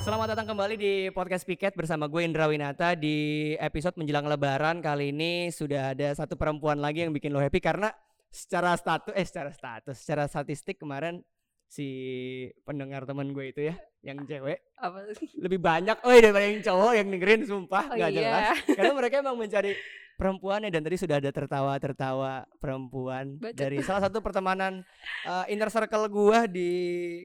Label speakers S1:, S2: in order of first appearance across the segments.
S1: Selamat datang kembali di podcast Piket bersama gue Indra Winata di episode menjelang Lebaran kali ini sudah ada satu perempuan lagi yang bikin lo happy karena secara status eh secara status secara statistik kemarin si pendengar teman gue itu ya yang cewek
S2: apa
S1: lebih banyak oh daripada yang cowok yang dengerin sumpah
S2: Oh
S1: nggak jelas
S2: iya.
S1: karena mereka emang mencari perempuannya dan tadi sudah ada tertawa-tertawa perempuan
S2: Bacot.
S1: dari salah satu pertemanan uh, inner circle gua di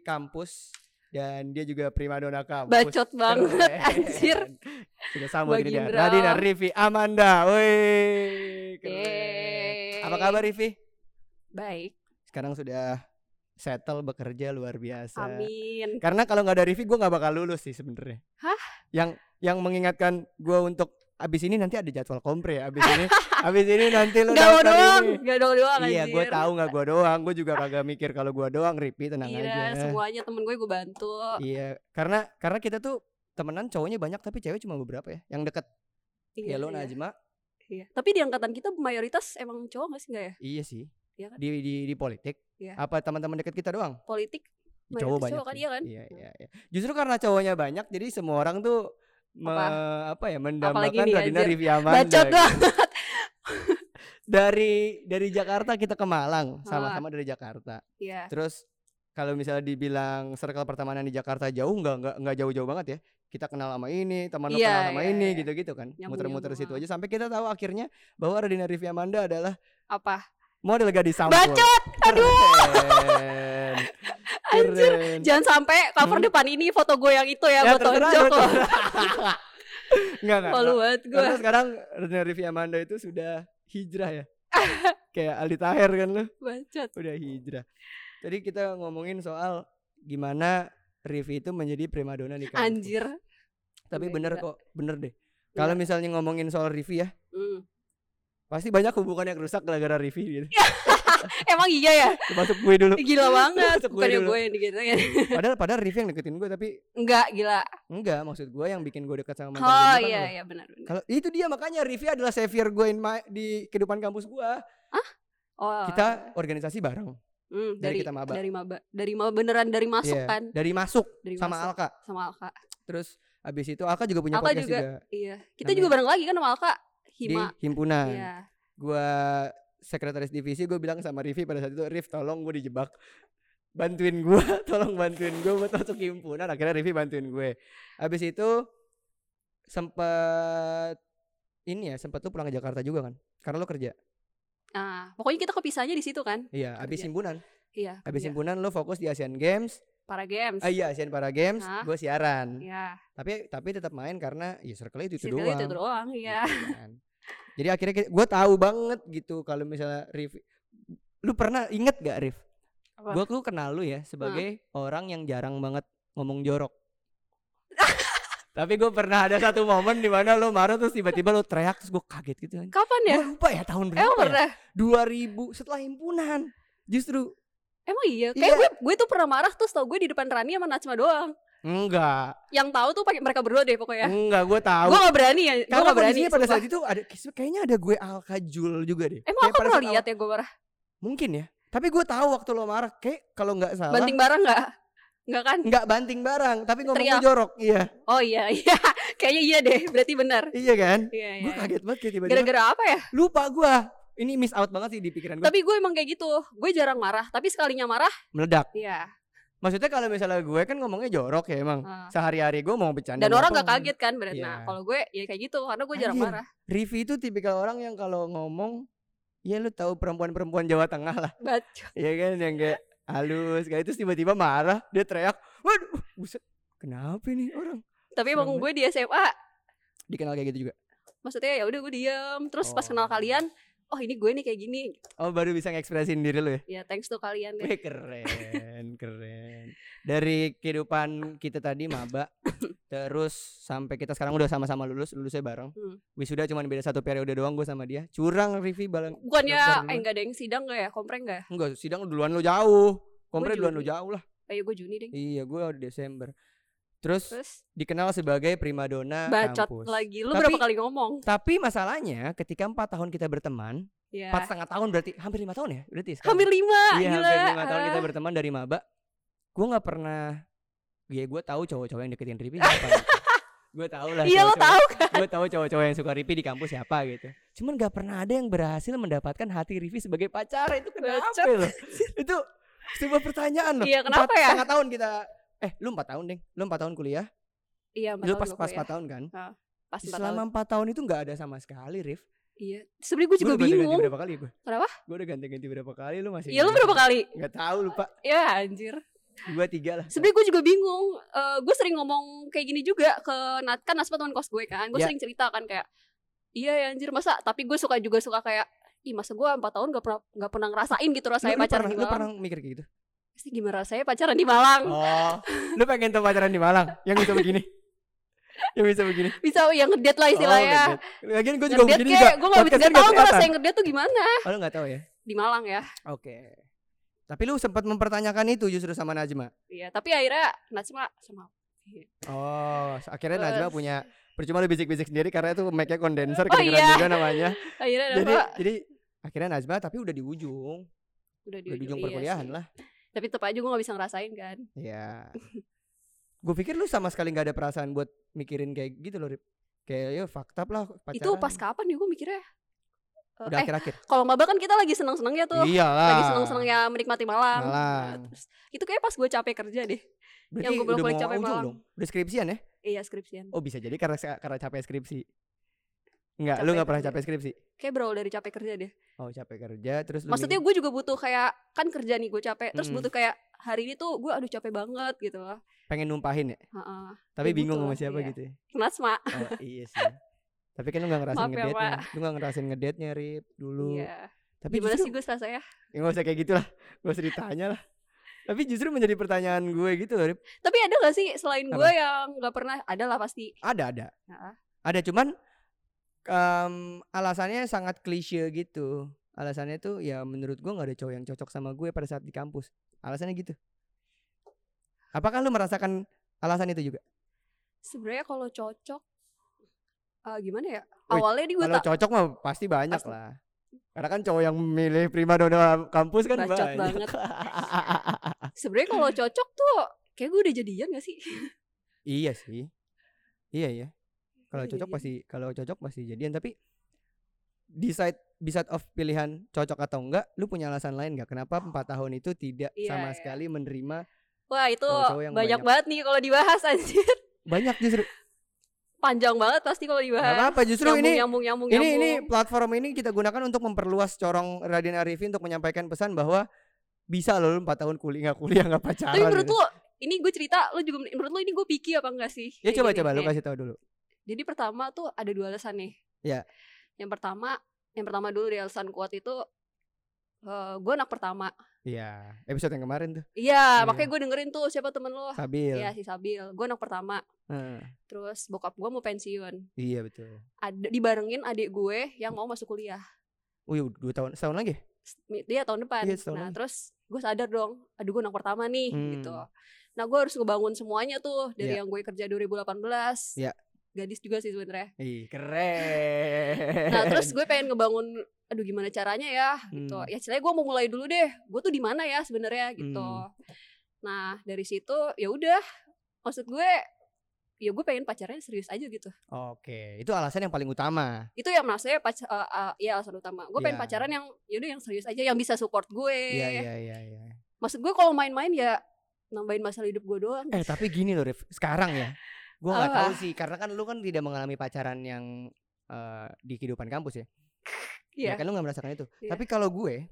S1: kampus dan dia juga primadona kampus.
S2: Bacot banget,
S1: Keren.
S2: anjir.
S1: Sudah sambut ini dia.
S2: Bagindra.
S1: Radina Rivi Amanda. Woi. Keren.
S2: Yeay.
S1: Apa kabar Rivi?
S2: Baik.
S1: Sekarang sudah settle bekerja luar biasa.
S2: Amin.
S1: Karena kalau nggak ada Rivi gue nggak bakal lulus sih sebenarnya.
S2: Hah?
S1: Yang yang mengingatkan gue untuk abis ini nanti ada jadwal kompre ya. Abis ini, abis ini nanti lu
S2: Enggak mau
S1: daftar
S2: doang,
S1: ini.
S2: enggak doang doang
S1: Iya,
S2: anjir.
S1: gue tahu nggak gue doang. Gue juga kagak mikir kalau gue doang. Rivi tenang
S2: Iya,
S1: aja.
S2: semuanya temen gue gue bantu.
S1: Iya, karena karena kita tuh temenan cowoknya banyak tapi cewek cuma beberapa ya. Yang deket ya lo
S2: iya.
S1: Najma.
S2: Iya. Tapi di angkatan kita mayoritas emang cowok gak sih enggak ya?
S1: Iya sih.
S2: Iya kan?
S1: Di di di politik.
S2: Iya.
S1: Apa teman-teman deket kita doang?
S2: Politik.
S1: cowok
S2: Mayoritas cowok
S1: banyak
S2: kan,
S1: sih.
S2: iya kan?
S1: Iya, iya, iya. Justru karena cowoknya banyak jadi semua orang tuh me- apa, ya
S2: Apalagi
S1: mendambakan
S2: nih,
S1: Radina
S2: anjir.
S1: Rivia Amanda.
S2: Bacot
S1: gitu.
S2: doang.
S1: Dari dari Jakarta kita ke Malang,
S2: Ah.
S1: sama-sama dari Jakarta.
S2: Iya.
S1: Terus kalau misalnya dibilang circle pertemanan di Jakarta jauh nggak nggak nggak jauh-jauh banget ya. Kita kenal sama ini, teman lo
S2: Iya,
S1: kenal sama
S2: iya,
S1: ini
S2: iya.
S1: gitu-gitu kan.
S2: Nyambung-nyambung,
S1: Muter-muter situ
S2: ah.
S1: aja sampai kita tahu akhirnya bahwa Radina Rivia Amanda adalah
S2: Apa?
S1: Hmm. model gadis sampul.
S2: Bacot. Aduh,
S1: Keren.
S2: Anjir.
S1: Keren.
S2: jangan sampai cover
S1: Hmm.
S2: depan ini foto gue yang itu ya, foto
S1: terserah,
S2: Joko.
S1: terserah. Enggak enggak.
S2: Malu banget gue.
S1: Karena sekarang Rina Rivi Amanda itu sudah hijrah ya. Kayak Aldi Taher kan lu,
S2: Bacot.
S1: udah hijrah. Tadi kita ngomongin soal gimana Rivi itu menjadi primadona di kampus.
S2: Anjir.
S1: Tapi
S2: Gila, Iya.
S1: bener
S2: gila.
S1: kok, bener deh. Kalau
S2: Gila.
S1: misalnya ngomongin soal Rivi ya,
S2: Hmm.
S1: pasti banyak hubungan yang rusak gara-gara Rivi gitu.
S2: Emang iya ya?
S1: Termasuk gue dulu.
S2: Gila banget.
S1: Termasuk gue
S2: Bukannya
S1: dulu.
S2: gue yang digituin.
S1: Padahal padahal Rivi yang deketin gue tapi
S2: Enggak, gila.
S1: enggak, maksud gue yang bikin gue dekat sama mantan gue
S2: Oh
S1: itu kan
S2: iya
S1: lu.
S2: iya benar benar.
S1: Kalau itu dia makanya Rivi adalah savior gue in my- di kehidupan kampus gue.
S2: Oh.
S1: Kita organisasi bareng.
S2: Hmm,
S1: dari
S2: dari,
S1: kita maba.
S2: Dari maba. Dari maba beneran dari masuk
S1: Iya,
S2: kan
S1: Dari masuk
S2: dari
S1: sama
S2: masuk.
S1: Alka.
S2: sama Alka.
S1: Terus abis itu Alka juga punya
S2: Alka
S1: podcast juga,
S2: juga, Iya. Kita
S1: Namanya-
S2: juga bareng lagi kan sama Alka.
S1: di
S2: Hima.
S1: himpunan.
S2: Iya.
S1: Gua sekretaris divisi gue bilang sama Rivi pada saat itu Riv tolong gue dijebak bantuin gue tolong bantuin gue buat masuk himpunan akhirnya Rivi bantuin gue abis itu sempet ini ya sempet tuh pulang ke Jakarta juga kan karena lo kerja
S2: Nah, pokoknya kita kepisahnya di situ kan.
S1: iya abis
S2: Kerja.
S1: himpunan
S2: Iya.
S1: abis
S2: kerja.
S1: himpunan lo fokus di Asian Games
S2: Para games.
S1: ah iya Asian Para Games
S2: Hah?
S1: gue siaran
S2: Iya.
S1: tapi tapi tetap main karena ya circle itu, itu
S2: Circle
S1: doang
S2: itu doang, iya.
S1: gitu kan. Jadi akhirnya gue tahu banget gitu kalau misalnya Rif, lu pernah inget gak Rif?
S2: Apa?
S1: Gue tuh kenal lu ya sebagai orang yang jarang banget ngomong jorok. Tapi gue pernah ada satu momen di mana lu marah terus tiba-tiba lu teriak terus gue kaget gitu kan.
S2: Kapan ya?
S1: Gue lupa ya tahun berapa
S2: Emang
S1: ya?
S2: pernah?
S1: 2000 setelah himpunan. Justru
S2: Emang iya.
S1: Iya.
S2: Kayak gue gue tuh pernah marah terus tau gue di depan Rani sama Najma doang.
S1: enggak,
S2: Yang tahu tuh pakai mereka berdua deh pokoknya.
S1: enggak gue tahu.
S2: Gue gak berani ya. Gue
S1: Karena
S2: gak berani.
S1: kondisinya pada
S2: sumpah.
S1: saat itu ada kayaknya ada gue Alka Jul juga deh. Kayak
S2: Emang aku
S1: pada
S2: pernah
S1: saat
S2: lihat ya gue marah.
S1: Mungkin ya. Tapi gue tahu waktu lo marah, kayak kalau nggak salah
S2: Banting barang nggak? Nggak kan?
S1: nggak banting barang, tapi ngomongnya
S2: Teriak.
S1: jorok. Iya,
S2: Oh iya iya. Kayaknya iya deh. Berarti benar.
S1: iya kan?
S2: Iya iya.
S1: Gue kaget banget kayak tiba-tiba.
S2: Gara-gara apa ya?
S1: Lupa gue. Ini miss out banget sih di pikiran gue.
S2: Tapi gue emang kayak gitu. Gue jarang marah. Tapi sekalinya marah,
S1: Meledak.
S2: iya.
S1: Maksudnya kalau misalnya gue kan ngomongnya jorok ya emang.
S2: Ah.
S1: Sehari-hari gue mau bercanda.
S2: Dan orang
S1: nggak
S2: nggak kaget kan berarti.
S1: Iya.
S2: Nah, kalau gue ya kayak gitu karena gue jarang
S1: Anjir.
S2: marah.
S1: Rivi itu tipikal orang yang kalau ngomong, ya lu tahu perempuan-perempuan Jawa Tengah lah,
S2: Baca.
S1: ya kan yang kayak halus kayak itu tiba-tiba marah, dia teriak, waduh, buset, kenapa nih orang?
S2: Tapi emang
S1: Serem
S2: gue di SMA,
S1: Dikenal kayak gitu juga.
S2: maksudnya ya udah gue diam. Terus pas
S1: Oh.
S2: kenal kalian, oh ini gue nih kayak gini.
S1: Oh baru bisa ngekspresin diri lu ya.
S2: Ya thanks tuh kalian deh.
S1: Wih keren, keren. Dari kehidupan kita tadi maba, terus sampai kita sekarang udah sama-sama lulus, lulusnya bareng.
S2: Hmm.
S1: Wisuda cuman beda satu periode doang gue sama dia. Curang Rivi bareng. Daftar
S2: Bukannya
S1: dulu.
S2: eh enggak ada yang sidang gak ya? Kompreng gak?
S1: Enggak, sidang duluan lo jauh. Kompre
S2: Gua gitu.
S1: duluan lo
S2: Juni.
S1: jauh lah.
S2: Ayo gue Juni deh.
S1: Iya, gue Desember. Terus
S2: Terus
S1: dikenal sebagai primadona
S2: bacot
S1: kampus.
S2: lagi. Lu
S1: Ya Tapi-
S2: berapa kali ngomong?
S1: Tapi masalahnya ketika empat tahun kita berteman,
S2: Ya.
S1: empat setengah tahun berarti hampir lima tahun ya berarti. sekarang?
S2: Hampir lima,
S1: Iya,
S2: gila.
S1: hampir lima tahun kita berteman dari maba. Gue nggak pernah ya gue tahu cowok-cowok yang deketin Ripi siapa gitu. gue tahu lah
S2: Iya lo
S1: cowok-cowok-
S2: tahu kan?
S1: gue tahu cowok-cowok yang suka Rivi di kampus siapa gitu cuman gak pernah ada yang berhasil mendapatkan hati Rivi sebagai pacar itu kenapa
S2: Bacot.
S1: loh itu sebuah pertanyaan loh
S2: Iya, kenapa
S1: Empat
S2: ya?
S1: setengah tahun kita eh lu empat tahun deh lu empat tahun kuliah
S2: Iya, empat
S1: lu
S2: tahun
S1: pas
S2: gua
S1: pas
S2: kuliah.
S1: empat tahun kan
S2: pas empat
S1: selama
S2: tahun.
S1: empat tahun itu nggak ada sama sekali Rif
S2: Iya. Sebenarnya gue juga
S1: udah ganti-ganti
S2: bingung.
S1: berapa kali gue
S2: Kenapa?
S1: gue udah ganti-ganti berapa kali lu masih
S2: Iya lu berapa kali?
S1: nggak tahu lupa
S2: Ya anjir.
S1: dua tiga lah
S2: Sebenarnya gue juga bingung. Eh gue sering ngomong kayak gini juga ke Nat kan Nasma teman kos gue kan. Gue
S1: Ya.
S2: sering cerita kan kayak iya ya anjir masa tapi gue suka juga suka kayak ih masa gue empat tahun gak pernah gak pernah ngerasain gitu
S1: Lu-
S2: rasanya
S1: lu
S2: pacaran
S1: pernah,
S2: di
S1: lu
S2: Malang.
S1: pernah mikir kayak gitu
S2: Pasti gimana rasanya pacaran di Malang?
S1: oh lu pengen tuh pacaran di Malang yang bisa begini yang bisa begini
S2: Bisa oh, yang ngedate lah istilahnya.
S1: Oh, ngedate. Lagian gue juga
S2: ngedate
S1: begini juga.
S2: kayak gue gak bisa
S1: Podcastnya
S2: gak tau gue
S1: kelihatan.
S2: rasanya ngedate tuh gimana
S1: Oh, lu gak tahu ya?
S2: di Malang ya.
S1: Oke. Tapi lu sempat mempertanyakan itu justru sama Najma.
S2: Iya tapi akhirnya Nasma sama
S1: Oh, so- akhirnya
S2: Eh,
S1: Najma punya percuma lu bisik-bisik sendiri karena itu mic-nya kondenser
S2: Oh,
S1: kedengeran
S2: iya.
S1: juga namanya.
S2: akhirnya
S1: jadi
S2: Nasma
S1: jadi akhirnya Najma tapi udah di ujung,
S2: udah
S1: udah di ujung
S2: iya
S1: perkuliahan
S2: sih.
S1: lah.
S2: Tapi tetap aja gue gak bisa ngerasain kan.
S1: Ya. gue pikir lu sama sekali nggak ada perasaan buat mikirin kayak gitu loh, Rip. Kayak yo fucked up lah pacaran.
S2: Itu pas kapan ya gue mikirnya? Eh,
S1: udah
S2: eh,
S1: akhir-akhir.
S2: kalau maba kan kita lagi seneng-senengnya tuh.
S1: Iya lah.
S2: Lagi seneng-senengnya menikmati malam.
S1: Malam.
S2: Nah, terus, itu kayak pas gue capek kerja deh.
S1: Berarti
S2: yang gua bilang
S1: udah
S2: paling
S1: mau
S2: capek
S1: ujung
S2: malam.
S1: dong. Udah skripsian ya?
S2: Iya skripsian.
S1: Oh bisa jadi karena karena capek skripsi. Enggak, lu
S2: Capek
S1: nggak pernah
S2: kerja.
S1: capek skripsi.
S2: Kayak berawal dari capek kerja deh.
S1: Oh capek kerja terus lu
S2: Maksudnya gue juga butuh kayak kan kerja nih gue capek. Terus
S1: Mm-mm.
S2: butuh kayak hari ini tuh gue aduh capek banget gitu loh.
S1: ming- pengen numpahin ya
S2: Heeh.
S1: tapi
S2: Ya,
S1: bingung sama
S2: butuh lah,
S1: siapa
S2: iya.
S1: gitu ya
S2: Nasma.
S1: oh, iya sih tapi kan lu gak ngerasain
S2: Maaf ya,
S1: ngedate nya lu gak ngerasain ngedate nya Rip dulu
S2: Iya.
S1: tapi
S2: Gimana
S1: justru
S2: sih gue rasanya?
S1: ya, gak usah kayak gitu lah gak usah ditanya lah tapi justru menjadi pertanyaan gue gitu loh Rip
S2: Tapi ada gak sih selain
S1: Apa?
S2: gue yang gak pernah? Ada lah pasti.
S1: ada ada
S2: Heeh.
S1: ada cuman em, alasannya sangat klise gitu alasannya tuh ya menurut gue gak ada cowok yang cocok sama gue pada saat di kampus alasannya gitu apakah lu merasakan alasan itu juga
S2: Sebenarnya kalau cocok eh, gimana ya?
S1: Wih,
S2: Awalnya nih gue
S1: Kalau
S2: tak
S1: cocok mah pasti banyak
S2: Pasti.
S1: lah. Karena kan cowok yang milih prima dona kampus kan
S2: Bacot
S1: banyak.
S2: banget. Sebenarnya kalau cocok tuh kayak gue udah jadian gak sih?
S1: iya sih. Iya ya. Kalau
S2: Iya,
S1: cocok
S2: jadian.
S1: pasti kalau cocok pasti jadian tapi decide beside of pilihan cocok atau enggak, lu punya alasan lain enggak kenapa empat tahun itu tidak
S2: Iya,
S1: sama
S2: iya.
S1: sekali menerima
S2: Wah itu
S1: Cowok-cowok yang
S2: banyak, banget nih kalau dibahas anjir.
S1: banyak justru.
S2: Panjang banget pasti kalau
S1: Enggak
S2: dibahas.
S1: apa-apa justru
S2: nyambung,
S1: ini
S2: nyambung, nyambung,
S1: ini
S2: nyambung.
S1: ini platform ini kita gunakan untuk memperluas corong Raden Arifin untuk menyampaikan pesan bahwa bisa loh lu 4 tahun kuliah nggak kuliah nggak pacaran.
S2: Tapi menurut
S1: gitu.
S2: lo, ini gue cerita, lo juga menurut lo ini gue pikir apa enggak sih?
S1: Ya
S2: Kayak
S1: coba
S2: gini,
S1: coba lu
S2: kayak-
S1: kasih tahu dulu.
S2: Jadi pertama tuh ada dua alasan nih.
S1: Iya.
S2: Yang pertama, yang pertama dulu di alasan kuat itu eh gue anak pertama.
S1: Iya, episode yang kemarin tuh. Iya.
S2: Iya, makanya gue dengerin tuh siapa temen lo.
S1: Sabil.
S2: Iya si Sabil, gue anak pertama.
S1: Heeh.
S2: Terus bokap gue mau pensiun.
S1: iya betul.
S2: Ada dibarengin adik gue yang mau masuk kuliah.
S1: Wih, dua tahun, setahun lagi.
S2: dia tahun depan.
S1: Iya, setahun
S2: nah,
S1: lagi.
S2: terus gue sadar dong, aduh gue anak pertama nih
S1: Hmm.
S2: gitu. Nah, gue harus ngebangun semuanya tuh dari
S1: Iya.
S2: yang gue kerja 2018.
S1: Iya.
S2: Gadis juga sih sebenarnya.
S1: Ih, keren.
S2: Nah, terus gue pengen ngebangun aduh gimana caranya ya gitu.
S1: Hmm.
S2: Ya ceritanya gue mau mulai dulu deh. Gue tuh di mana ya sebenarnya gitu.
S1: Hmm.
S2: Nah, dari situ ya udah maksud gue ya gue pengen pacarnya serius aja gitu.
S1: Oke, itu alasan yang paling utama.
S2: Itu yang maksudnya pacar ya alasan utama. Gue pengen
S1: Iya.
S2: pacaran yang ya udah yang serius aja yang bisa support gue.
S1: Iya, iya, iya, iya.
S2: Maksud gue kalau main-main ya nambahin masalah hidup gue doang.
S1: Eh, tapi gini loh, Rif. Sekarang ya. Gue nggak
S2: Apa?
S1: tahu sih, karena kan lu kan tidak mengalami pacaran yang eh, di kehidupan kampus ya.
S2: Iya.
S1: Ya kan lu gak merasakan itu.
S2: Iya.
S1: Tapi kalau gue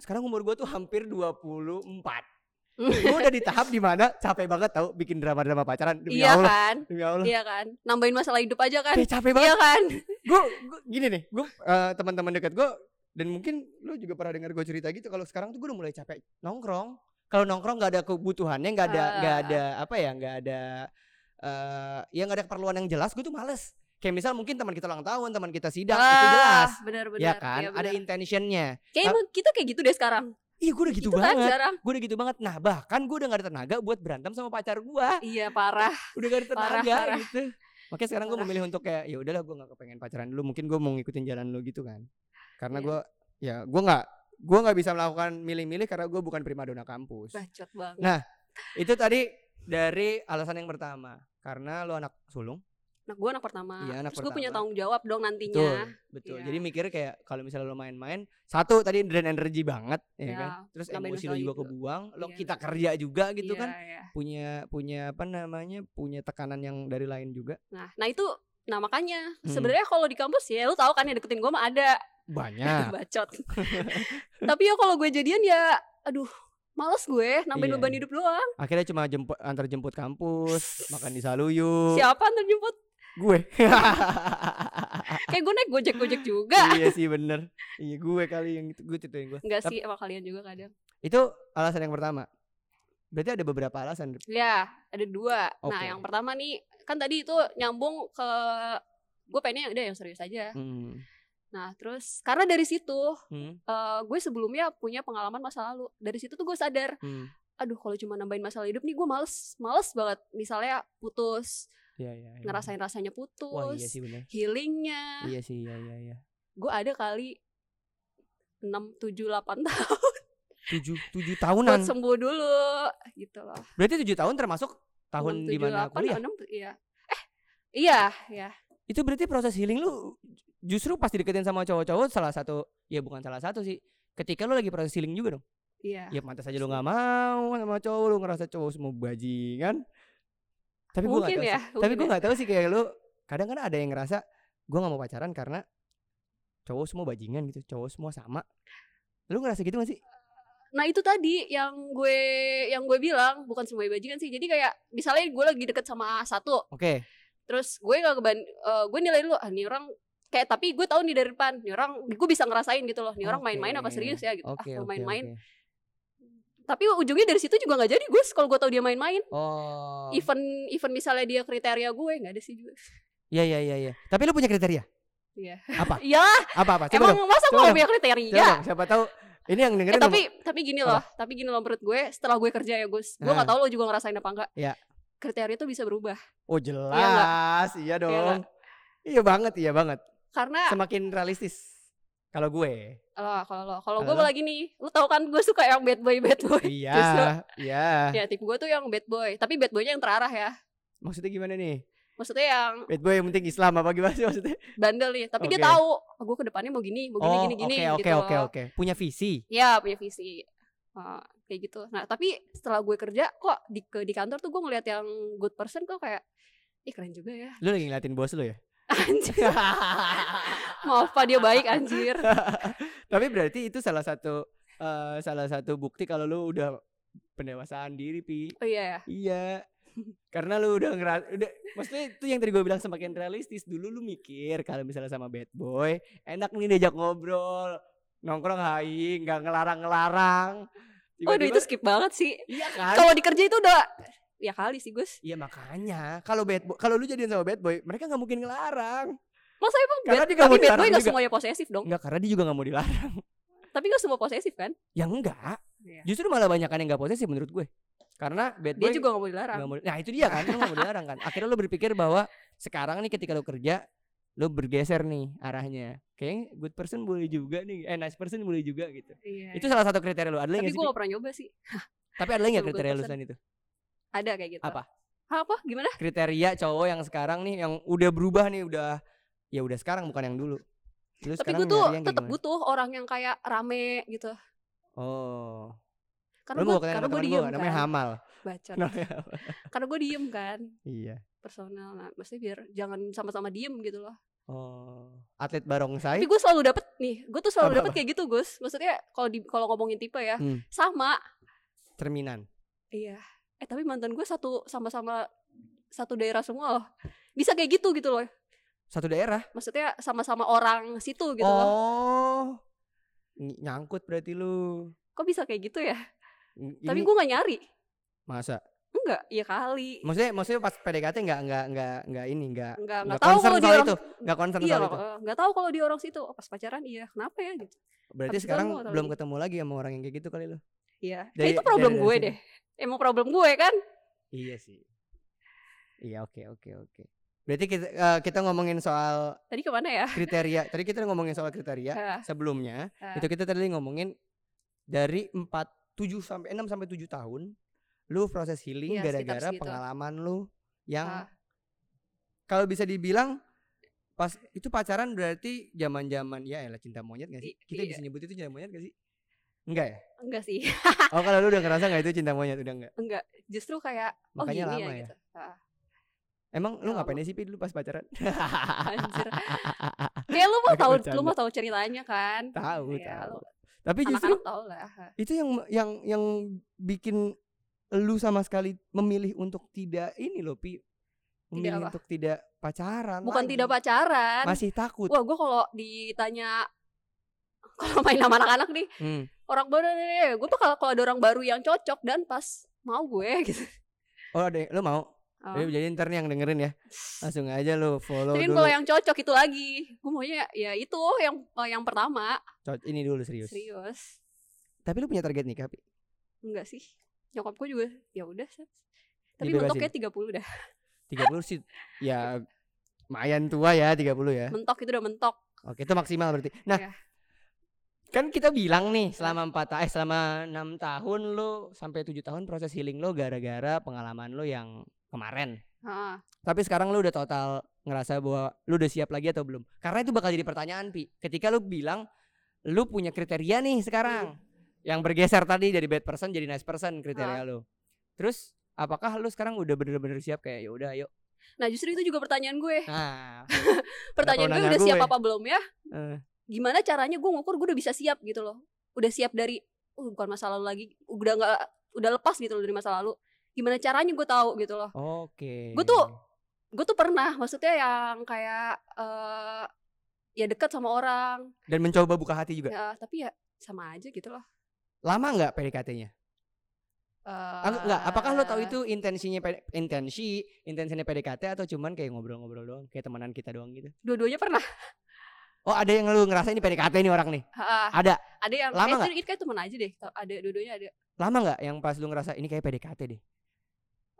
S1: sekarang umur gue tuh hampir 24.
S2: Mm.
S1: gue udah di tahap dimana capek banget tau bikin drama-drama pacaran demi
S2: Iya
S1: Allah
S2: kan?
S1: demi Allah
S2: Iya kan? Nambahin masalah hidup aja kan?
S1: Kayak capek banget
S2: Iya kan?
S1: gue gini nih gue teman-teman dekat gue dan mungkin lu juga pernah dengar gue cerita gitu kalau sekarang tuh gue udah mulai capek nongkrong kalau nongkrong nggak ada kebutuhannya nggak ada nggak
S2: Ah.
S1: ada apa ya nggak ada eh ya nggak ada keperluan yang jelas gue tuh males kayak misal mungkin teman kita ulang tahun teman kita sidang Ya, itu
S2: Ah,
S1: jelas
S2: Benar-benar.
S1: ya kan
S2: Iya,
S1: ada
S2: benar.
S1: intentionnya
S2: Kayak emang kita kayak gitu deh sekarang.
S1: iya gue udah gitu,
S2: kan
S1: banget
S2: sekarang.
S1: gue udah gitu banget nah bahkan gue udah gak ada tenaga buat berantem sama pacar gue
S2: Iya parah.
S1: udah gak ada tenaga
S2: Parah, parah.
S1: gitu makanya sekarang gue
S2: Parah.
S1: memilih untuk kayak ya udahlah gue gak kepengen pacaran dulu mungkin gue mau ngikutin jalan lo gitu kan karena
S2: Iya.
S1: gue ya gue nggak gue nggak bisa melakukan milih-milih karena gue bukan primadona kampus
S2: Bacot banget.
S1: itu tadi dari alasan yang pertama karena lu anak sulung
S2: anak gue anak pertama
S1: Iya, anak
S2: terus gue
S1: pertama.
S2: punya tanggung jawab dong
S1: betul
S2: nantinya
S1: betul
S2: Iya.
S1: jadi mikirnya kayak kalau misalnya lu main-main satu tadi drain energi banget ya
S2: Iya,
S1: kan terus
S2: nambahin
S1: emosi lu
S2: nostalgia
S1: juga
S2: juga.
S1: kebuang lo
S2: Iya.
S1: kita kerja juga gitu
S2: Iya,
S1: kan
S2: iya.
S1: punya punya apa namanya punya tekanan yang dari lain juga
S2: nah nah itu nah makanya
S1: Hmm.
S2: sebenarnya kalau di kampus ya lu tahu kan yang deketin gue mah ada
S1: banyak
S2: bacot tapi ya kalau gue jadian ya aduh males gue nambahin
S1: Iya,
S2: beban
S1: iya.
S2: hidup doang
S1: akhirnya cuma jemput antar jemput kampus makan di Saluyu
S2: siapa ntar jemput
S1: gue
S2: kayak gue naik gojek gojek juga
S1: iya sih bener iya gue kali yang itu gue ceritain gue
S2: Enggak
S1: Tapi-
S2: sih sama kalian juga kadang
S1: itu alasan yang pertama berarti ada beberapa alasan
S2: ya ada dua nah
S1: Oke.
S2: yang pertama nih kan tadi itu nyambung ke gue pengennya yang udah yang serius aja
S1: Hmm.
S2: nah terus karena dari situ
S1: Hmm.
S2: eh, gue sebelumnya punya pengalaman masa lalu dari situ tuh gue sadar
S1: Hmm.
S2: aduh kalau cuma nambahin masalah hidup nih gue males males banget misalnya putus
S1: Iya, iya, iya.
S2: ngerasain rasanya putus
S1: wah iya sih bener
S2: healingnya
S1: iya sih iya iya iya
S2: gue ada kali 6, 7, 8 tahun
S1: tujuh tujuh
S2: buat
S1: tahunan
S2: sembuh dulu gitu loh
S1: berarti tujuh tahun termasuk tahun di mana kuliah
S2: ya? iya eh iya ya
S1: itu berarti proses healing lu justru pas dideketin sama cowok-cowok salah satu ya bukan salah satu sih ketika lu lagi proses healing juga dong
S2: iya
S1: ya pantas aja lu nggak mau kan, sama cowok lu ngerasa cowok semua bajingan tapi gue nggak
S2: mungkin
S1: tahu
S2: ya
S1: sih. tapi
S2: mungkin
S1: gue
S2: ya.
S1: nggak tahu sih kayak lu kadang kan ada yang ngerasa gue nggak mau pacaran karena cowok semua bajingan gitu cowok semua sama lu ngerasa gitu gak sih
S2: nah itu tadi yang gue yang gue bilang bukan semua bajingan sih jadi kayak misalnya gue lagi deket sama satu
S1: oke
S2: terus gue nggak keban eh, gue nilai dulu ah nih orang kayak tapi gue tahu nih dari depan nih orang gue bisa ngerasain gitu loh nih orang main-main apa
S1: Oke.
S2: serius ya gitu
S1: oke
S2: ah kalau
S1: oke,
S2: main-main
S1: oke.
S2: tapi ujungnya dari situ juga nggak jadi gus kalau gue tahu dia main-main
S1: oh
S2: even even misalnya dia kriteria gue nggak ada sih juga
S1: iya iya iya iya tapi lu punya kriteria
S2: Iya.
S1: apa
S2: ya
S1: apa apa coba dong
S2: emang masa
S1: coba
S2: gue nggak
S1: dong,
S2: punya
S1: coba
S2: kriteria
S1: dong siapa tahu ini yang
S2: Eh,
S1: dengerin
S2: tapi tapi gini
S1: Apa?
S2: loh, tapi gini loh menurut gue setelah gue kerja ya Gus, gue
S1: Ah.
S2: nggak tahu lo juga ngerasain apa enggak.
S1: Iya.
S2: Kriteria itu bisa berubah
S1: Oh jelas, iya, dong.
S2: nggak?
S1: Iya banget, iya banget.
S2: karena
S1: Semakin realistis. Kalau gue,
S2: loh, kalau lo kalau
S1: Halo?
S2: gue lagi nih, lo tau kan gue suka yang bad boy bad boy. Justru.
S1: iya, iya.
S2: ya tipe gue tuh yang bad boy, tapi bad boynya yang terarah ya.
S1: Maksudnya gimana nih?
S2: Maksudnya yang
S1: Bad boy yang penting Islam apa gimana sih maksudnya?
S2: bandel nih, tapi dia
S1: Oke. Oh,
S2: tahu oh, gue kedepannya mau gini, mau gini gini gini
S1: oke, oke,
S2: gitu. loh.
S1: oke, oke. Punya visi.
S2: Ya punya visi. Ah, kayak gitu. Nah, tapi setelah gue kerja kok di ke- di kantor tuh gue ngeliat yang good person kok kayak ih keren juga ya.
S1: Lu lagi ngeliatin bos lu ya?
S2: Anjir. Maaf Pak dia baik anjir.
S1: Tapi berarti itu salah satu eh, salah satu bukti kalau lu udah pendewasaan diri, Pi.
S2: Oh iya ya.
S1: Iya. Karena lu udah ngeras udah maksudnya itu yang tadi gue bilang semakin realistis. Dulu lu mikir kalau misalnya sama bad boy, enak nih diajak ngobrol, nongkrong hai, nggak ngelarang-ngelarang.
S2: Waduh
S1: Tiba-tiba-
S2: itu skip banget sih.
S1: iya kan?
S2: Kalau di kerja itu udah ya kali sih Gus.
S1: Iya makanya kalau bad boy, kalau lu jadian sama bad boy, mereka nggak mungkin ngelarang.
S2: Masa emang
S1: Karena dia nggak
S2: bad, tapi
S1: mau
S2: bad boy
S1: dilarang
S2: gak
S1: juga. Iya.
S2: semuanya posesif dong.
S1: Enggak, karena dia juga nggak mau dilarang.
S2: Tapi gak semua posesif kan?
S1: Ya enggak.
S2: Iya.
S1: Justru malah banyakan yang nggak posesif menurut gue. Karena bad
S2: Dia
S1: boy
S2: juga gak mau dilarang.
S1: Nggak mau- nah itu dia kan, lu nggak mau dilarang kan. Akhirnya lu berpikir bahwa sekarang nih ketika lu kerja, lu bergeser nih arahnya. Kayaknya good person boleh juga nih, eh nice person boleh juga gitu.
S2: Iya.
S1: Itu salah satu kriteria lu. Ada lagi
S2: tapi
S1: nggak sih?
S2: gue gak pernah nyoba sih.
S1: Pi? Tapi ada lagi nggak
S2: sama good
S1: kriteria lu
S2: person.
S1: selain itu?
S2: Ada kayak gitu.
S1: Apa?
S2: Hah, apa? Gimana?
S1: Kriteria cowok yang sekarang nih yang udah berubah nih, udah ya udah sekarang bukan yang dulu. Lu
S2: Tapi
S1: sekarang
S2: gue tuh
S1: nyari yang kayak
S2: tetap
S1: gimana?
S2: butuh orang yang kayak rame gitu.
S1: Oh. Lu
S2: Karena gue
S1: mau kenal
S2: karena
S1: sama
S2: gue
S1: teman
S2: diem
S1: gue namanya Nah.
S2: kan.
S1: Hamal.
S2: Bacot.
S1: Namanya Hamal.
S2: Karena gue diem kan
S1: Iya.
S2: personal. Nah, maksudnya biar jangan sama-sama diem gitu loh.
S1: Oh. Atlet barongsai.
S2: Tapi gue selalu dapet nih. Gue tuh selalu
S1: Apa-apa?
S2: dapet kayak gitu Gus. Maksudnya kalau di kalau ngomongin tipe ya
S1: Hmm.
S2: sama
S1: Cerminan.
S2: Iya. Eh tapi mantan gue satu sama-sama satu daerah semua loh. Bisa kayak gitu gitu loh.
S1: Satu daerah.
S2: Maksudnya sama-sama orang situ gitu loh.
S1: oh. Ny- Nyangkut berarti lu.
S2: Kok bisa kayak gitu ya?
S1: N-
S2: Tapi
S1: ini
S2: gue nggak nyari.
S1: masa
S2: Enggak, ya kali.
S1: maksudnya maksudnya pas PDKT nggak nggak nggak nggak ini nggak
S2: Enggak,
S1: nggak
S2: enggak tahu
S1: concern
S2: kalau dia
S1: soal
S2: orang
S1: itu nggak concern
S2: Iya,
S1: soal itu
S2: eh, nggak tahu kalau dia orang situ. Oh, pas pacaran iya, kenapa ya gitu.
S1: berarti
S2: Habis itu
S1: sekarang
S2: lu nggak tahu
S1: belum
S2: lagi.
S1: ketemu lagi sama orang yang kayak gitu kali lu
S2: Iya. Ya,
S1: Dari-
S2: itu problem
S1: dari- dari
S2: gue
S1: situ.
S2: deh. Emang problem gue kan?
S1: iya sih iya oke oke oke berarti kita eh, kita ngomongin soal
S2: Tadi kemana ya?
S1: kriteria tadi kita ngomongin soal kriteria
S2: Eh,
S1: sebelumnya
S2: eh,
S1: itu kita tadi ngomongin dari 4 7 sampai 6 sampai 7 tahun lu proses healing
S2: Iya, sit-ups
S1: gara-gara
S2: gitu.
S1: pengalaman lu yang
S2: Ah.
S1: kalau bisa dibilang pas itu pacaran berarti zaman-zaman ya elah cinta monyet gak sih?
S2: I-
S1: Kita
S2: iya.
S1: bisa nyebut itu cinta monyet gak sih? Enggak ya?
S2: enggak sih
S1: Oh kalau lu udah ngerasa gak itu cinta monyet udah enggak?
S2: enggak justru kayak oh
S1: Makanya
S2: gini
S1: lama ya.
S2: ya, gitu Ah,
S1: Emang lu
S2: Lama.
S1: ngapain aja sih Pi, dulu pas pacaran?
S2: Ah, anjir kayak lu mau
S1: Agak
S2: tahu
S1: bercanda.
S2: lu mau tahu ceritanya kan
S1: tahu
S2: Iya,
S1: tahu.
S2: lu-
S1: Tapi justru
S2: anak-anak tahu lah
S1: itu yang yang yang bikin lu sama sekali memilih untuk tidak ini loh Pi. Memilih
S2: apa?
S1: untuk tidak pacaran.
S2: bukan
S1: lagi.
S2: tidak pacaran
S1: Masih takut.
S2: kan? wah gue kalau ditanya kalau main sama anak-anak nih
S1: Hmm.
S2: orang baru nih gue bakal kalau ada orang baru yang cocok dan pas mau gue gitu
S1: Oh ada lu mau?
S2: Oh.
S1: Eh, Jadi ntar nih yang dengerin ya. Langsung aja lu follow
S2: tapi kan
S1: dulu.
S2: kalau yang cocok itu lagi gue maunya ya itu yang eh, yang pertama
S1: Co- ini dulu serius.
S2: serius
S1: Tapi lu punya target nikah, Pi?
S2: enggak sih nyokap gue juga ya udah Seth. tapi
S1: Dibebasin.
S2: mentoknya 30 dah
S1: 30 sih ya lumayan tua ya 30 ya.
S2: mentok itu udah mentok
S1: Oke, itu maksimal berarti. Nah,
S2: Iya.
S1: kan kita bilang nih selama 4 ta- eh selama 6 tahun lu sampai 7 tahun proses healing lu gara-gara pengalaman lu yang kemarin.
S2: Heeh.
S1: Tapi sekarang lu udah total ngerasa bahwa lu udah siap lagi atau belum? Karena itu bakal jadi pertanyaan, Pi. Ketika lu bilang lu punya kriteria nih sekarang yang bergeser tadi dari bad person jadi nice person kriteria lu. Terus apakah lu sekarang udah bener-bener siap kayak ya udah ayo.
S2: nah justru itu juga pertanyaan gue
S1: Nah,
S2: pertanyaan
S1: perlu
S2: gue
S1: nanya
S2: udah siap
S1: gue.
S2: apa belum ya
S1: eh,
S2: gimana caranya gue ngukur gue udah bisa siap gitu loh udah siap dari "Oh, bukan masa lalu lagi udah nggak udah lepas gitu loh dari masa lalu gimana caranya gue tahu gitu loh
S1: oke.
S2: Gua tuh-
S1: Hmm.
S2: gue tuh pernah maksudnya yang kayak eh ya dekat sama orang
S1: dan mencoba buka hati juga.
S2: ya, tapi ya sama aja gitu loh
S1: Lama nggak PDKT-nya?
S2: Eh,
S1: Ang- Enggak, Ah, apakah lo tahu itu intensinya P- intensi intensinya PDKT atau cuman kayak ngobrol-ngobrol doang, kayak temanan kita doang gitu?
S2: dua-duanya pernah
S1: Oh, ada yang lu ngerasa ini PDKT nih orang nih.
S2: Ah,
S1: Ada.
S2: ada yang
S1: Lama
S2: eh, itu, itu kayak temen aja deh ada dua-duanya ada
S1: Lama nggak yang pas lu ngerasa ini kayak PDKT deh?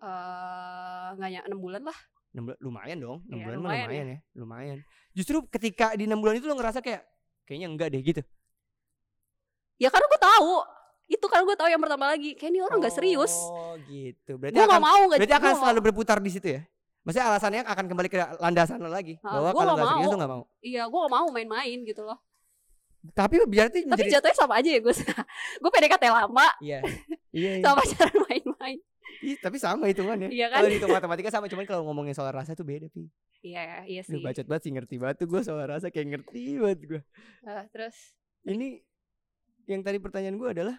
S2: eh nggak nyampe enam bulan lah
S1: Enam bulan- lumayan dong, 6
S2: Iya,
S1: bulan mah
S2: lumayan
S1: lumayan, ya. lumayan. Justru ketika di 6 bulan itu lu ngerasa kayak kayaknya enggak deh gitu.
S2: ya karena gue tahu itu karena gue tahu yang pertama lagi kayak ini orang nggak serius
S1: Oh, gitu. Berarti
S2: gue
S1: akan
S2: nggak mau nggak
S1: berarti
S2: gua
S1: akan
S2: nggak mau.
S1: selalu berputar di situ ya. Maksudnya alasannya akan kembali ke landasan lo lagi
S2: Ah,
S1: bahwa
S2: gua
S1: kalau
S2: nggak
S1: nggak serius
S2: mau.
S1: lu nggak mau.
S2: iya gue gak mau main-main gitu loh
S1: Tapi berarti
S2: tapi
S1: menjadi
S2: jatuhnya sama aja ya gue gue PDKT lama
S1: Iya. Iya. iya.
S2: sama pacaran main-main
S1: Ih, tapi sama hitungannya.
S2: Iya kan?
S1: Kalau hitung matematika sama, cuman kalau ngomongin soal rasa tuh beda, Pi.
S2: iya iya
S1: Lu
S2: sih
S1: bacot banget sih, ngerti banget tuh gue soal rasa kayak ngerti banget gue.
S2: Eh, terus
S1: Ini yang tadi pertanyaan gue adalah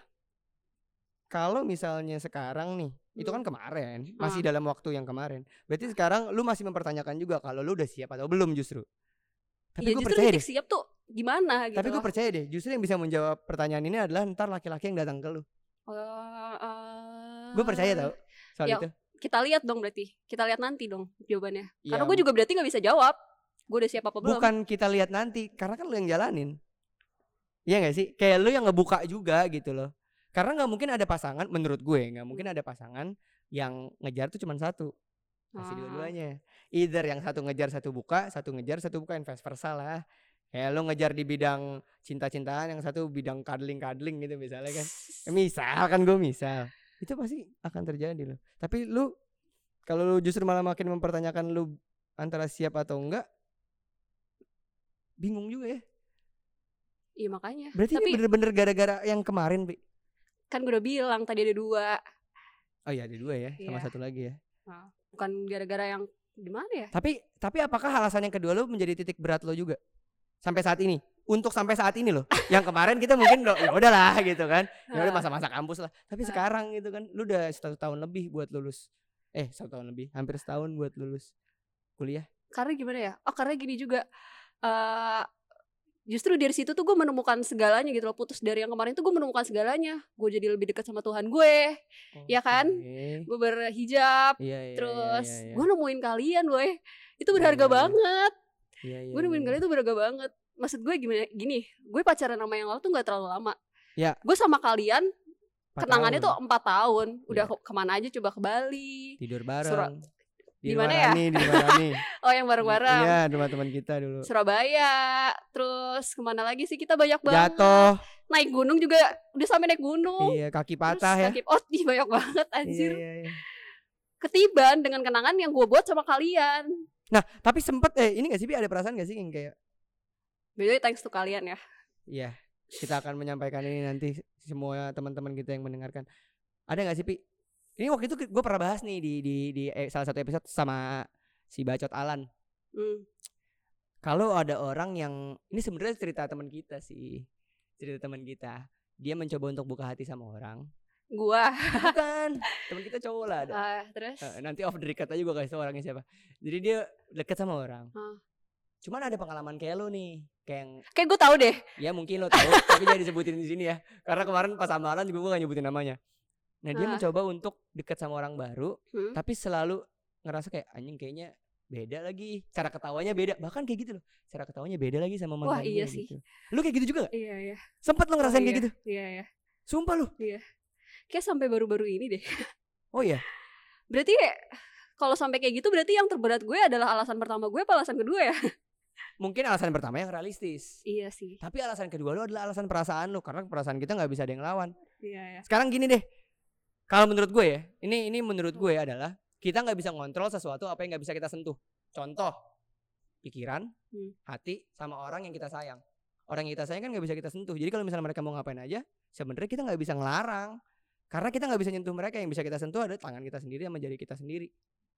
S1: kalau misalnya sekarang nih, itu
S2: Hmm.
S1: kan kemarin, masih
S2: Ah.
S1: dalam waktu yang kemarin. Berarti sekarang lu masih mempertanyakan juga kalau lu udah siap atau belum justru. Tapi
S2: ya
S1: gue
S2: justru
S1: percaya
S2: titik
S1: deh.
S2: siap tuh gimana gitu
S1: Tapi gue
S2: loh.
S1: percaya deh, justru yang bisa menjawab pertanyaan ini adalah ntar laki-laki yang datang ke lu.
S2: Eh, eh,
S1: Gue percaya tau soal
S2: Ya,
S1: itu.
S2: kita lihat dong berarti kita lihat nanti dong jawabannya
S1: Ya,
S2: karena gue juga berarti nggak bisa jawab gue udah siap apa belum Ah.
S1: bukan kita lihat nanti karena kan lu yang jalanin Iya gak sih kayak lu yang ngebuka juga gitu loh karena nggak mungkin ada pasangan menurut gue nggak
S2: Hmm.
S1: mungkin ada pasangan yang ngejar tuh cuman satu pasti
S2: Ah.
S1: dua-duanya either yang satu ngejar satu buka satu ngejar satu buka and vice versa lah kayak lu ngejar di bidang cinta-cintaan yang satu bidang cuddling cuddling gitu misalnya kan Ya, misal kan gue misal itu pasti akan terjadi loh tapi lu kalau lu justru malah makin mempertanyakan lu antara siap atau enggak bingung juga ya
S2: iya makanya
S1: berarti
S2: tapi
S1: ini bener-bener gara-gara yang kemarin Pi.
S2: kan gue udah bilang tadi ada dua
S1: oh iya ada dua ya sama
S2: Iya.
S1: satu lagi ya
S2: bukan gara-gara yang gimana ya
S1: tapi tapi apakah alasan yang kedua lu menjadi titik berat lo juga sampai saat ini untuk sampai saat ini loh yang kemarin kita mungkin lo ya udahlah gitu kan ya udah
S2: Ah.
S1: masa-masa kampus lah tapi
S2: Ah.
S1: sekarang gitu kan lu udah satu tahun lebih buat lulus eh satu tahun lebih hampir setahun buat lulus kuliah
S2: karena gimana ya oh karena gini juga eh justru dari situ tuh gue menemukan segalanya gitu loh putus dari yang kemarin tuh gue menemukan segalanya gue jadi lebih dekat sama Tuhan gue Iya kan?
S1: Oke.
S2: gue berhijab
S1: Iya, iya,
S2: terus
S1: iya, iya.
S2: gue nemuin kalian boy itu
S1: Iya, iya,
S2: berharga
S1: iya.
S2: banget
S1: Iya, iya,
S2: gue nemuin
S1: iya.
S2: kalian itu berharga banget maksud gue gimana gini gue pacaran sama yang lalu tuh nggak terlalu lama
S1: Ya.
S2: gue sama kalian
S1: Empat
S2: kenangannya
S1: tahun. Iya.
S2: tuh empat tahun udah ke- kemana aja coba ke Bali
S1: tidur bareng.
S2: Surat-
S1: di
S2: Di
S1: rumah
S2: mana ya?
S1: Rani, di rumah Rani.
S2: oh yang bareng-bareng
S1: Iya, di rumah teman kita dulu.
S2: Surabaya terus kemana lagi sih kita banyak banget
S1: Jatuh,
S2: naik gunung juga udah sampai naik gunung
S1: Iya, kaki
S2: Terus
S1: patah ya.
S2: sakit- oh ih, banyak banget
S1: Iya,
S2: anjir
S1: iya, iya.
S2: ketiban dengan kenangan yang gue buat sama kalian
S1: Nah, tapi sempet eh ini gak sih Bi ada perasaan gak sih yang kayak
S2: by the way thanks to kalian ya
S1: Iya, kita akan menyampaikan ini nanti semua teman-teman kita yang mendengarkan. Ada nggak sih Pi? Ini waktu itu gue pernah bahas nih di di di eh, salah satu episode sama si Bacot Alan.
S2: Hmm.
S1: Kalau ada orang yang ini sebenarnya cerita teman kita sih, cerita teman kita. Dia mencoba untuk buka hati sama orang.
S2: gua
S1: Bukan, teman kita cowok lah ada.
S2: ah, terus
S1: Eh, nanti off the record aja gue kasih tau orangnya siapa. Jadi dia deket sama orang.
S2: Ah.
S1: Cuman ada pengalaman kayak lo nih, kayak yang
S2: kayak gue tahu deh
S1: Ya mungkin lo tahu, tapi jangan disebutin di sini ya. Karena kemarin pas amalan juga gue gak nyebutin namanya. Nah dia
S2: Ah.
S1: mencoba untuk dekat sama orang baru,
S2: Hmm.
S1: tapi selalu ngerasa kayak anjing kayaknya beda lagi. Cara ketawanya beda, bahkan kayak gitu loh. Cara ketawanya beda lagi sama mantan
S2: Wah,
S1: gue
S2: iya sih.
S1: gitu. Lu kayak gitu juga gak?
S2: iya iya
S1: Sempet lo ngerasain
S2: Oh,
S1: kayak gitu?
S2: iya iya
S1: Sumpah lu.
S2: kayak sampai baru-baru ini deh
S1: Oh iya.
S2: berarti kalau sampai kayak gitu berarti yang terberat gue adalah alasan pertama gue apa alasan kedua ya
S1: Mungkin alasan pertama yang realistis.
S2: iya sih
S1: Tapi alasan kedua lo adalah alasan perasaan lo karena perasaan kita nggak bisa ada yang lawan.
S2: iya iya
S1: Sekarang gini deh. Kalau menurut gue ya, ini ini menurut gue adalah kita nggak bisa ngontrol sesuatu apa yang nggak bisa kita sentuh. Contoh, pikiran,
S2: Hmm.
S1: hati, sama orang yang kita sayang. Orang yang kita sayang kan nggak bisa kita sentuh. Jadi kalau misalnya mereka mau ngapain aja, sebenarnya kita nggak bisa ngelarang. Karena kita nggak bisa nyentuh mereka yang bisa kita sentuh ada tangan kita sendiri sama jari kita sendiri.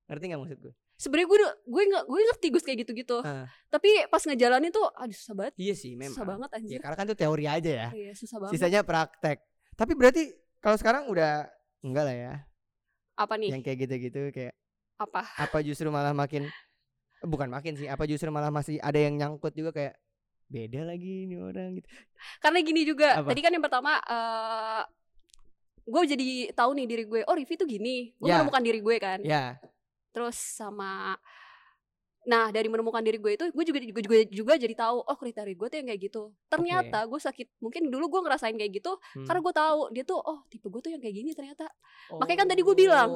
S1: Ngerti nggak maksud gue?
S2: sebenarnya gue gue nggak gue ngerti gue kayak gitu-gitu
S1: Ah.
S2: tapi pas ngejalanin tuh aduh susah banget
S1: Iya sih memang.
S2: susah banget
S1: Ya
S2: anjir
S1: karena kan itu teori aja ya.
S2: iya susah banget
S1: Sisanya praktek. Tapi berarti kalau sekarang udah enggak lah ya.
S2: apa nih
S1: Yang kayak gitu-gitu kayak
S2: apa
S1: apa justru malah makin bukan makin sih apa justru malah masih ada yang nyangkut juga kayak beda lagi ini orang gitu
S2: karena gini juga
S1: Apa?
S2: tadi kan yang pertama eh gue jadi tahu nih diri gue oh Rivi tuh gini gue
S1: Ya.
S2: menemukan diri gue kan
S1: ya
S2: terus sama nah dari menemukan diri gue itu gue juga juga juga, juga jadi tahu oh kriteria gue tuh yang kayak gitu ternyata gue sakit mungkin dulu gue ngerasain kayak gitu
S1: Hmm.
S2: karena gue tahu dia tuh oh tipe gue tuh yang kayak gini ternyata makanya kan tadi gua bilang,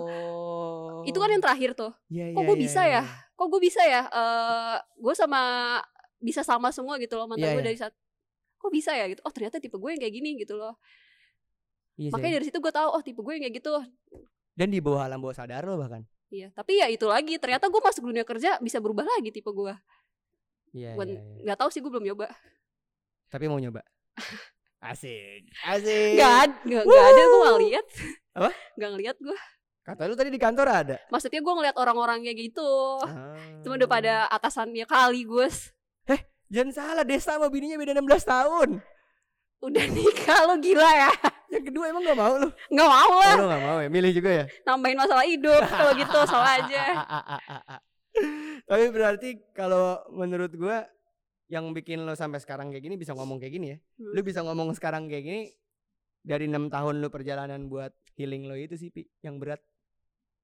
S2: itu kan
S1: Oh.
S2: yang terakhir tuh
S1: Iya,
S2: kok gua bisa ya? kok gue bisa ya Eh gue sama bisa sama semua gitu loh mantan
S1: Iya,
S2: gue
S1: iya.
S2: dari saat kok bisa ya gitu oh ternyata tipe gue yang kayak gini gitu loh
S1: makanya ya.
S2: makanya dari situ gue tahu oh tipe gue yang kayak gitu
S1: Iya dan di bawah alam bawah sadar lo bahkan
S2: Iya, tapi ya itu lagi. Ternyata gue masuk dunia kerja bisa berubah lagi tipe gue.
S1: iya,
S2: Gue
S1: iya, iya.
S2: nggak tahu sih gue belum nyoba.
S1: tapi mau nyoba asik asik
S2: Gak ada, gak, gak ada gue nggak lihat.
S1: Iya. Apa?
S2: Gak ngeliat gue.
S1: kata lu tadi di kantor ada
S2: Maksudnya gue ngeliat orang-orangnya gitu.
S1: Ah.
S2: Cuma udah pada atasannya kali gue s-
S1: jangan salah desa sama bininya beda 16 tahun
S2: udah nikah lo gila ya.
S1: yang kedua emang gak mau lu
S2: Nggak mau
S1: oh,
S2: lah.
S1: lu gak mau ya milih juga ya
S2: Nambahin masalah hidup kalau gitu salah aja.
S1: Tapi berarti kalau menurut gua yang bikin lo sampai sekarang kayak gini bisa ngomong kayak gini ya.
S2: Hmm.
S1: Lo bisa ngomong sekarang kayak gini dari enam tahun lo perjalanan buat healing lo itu sih Pi, yang berat.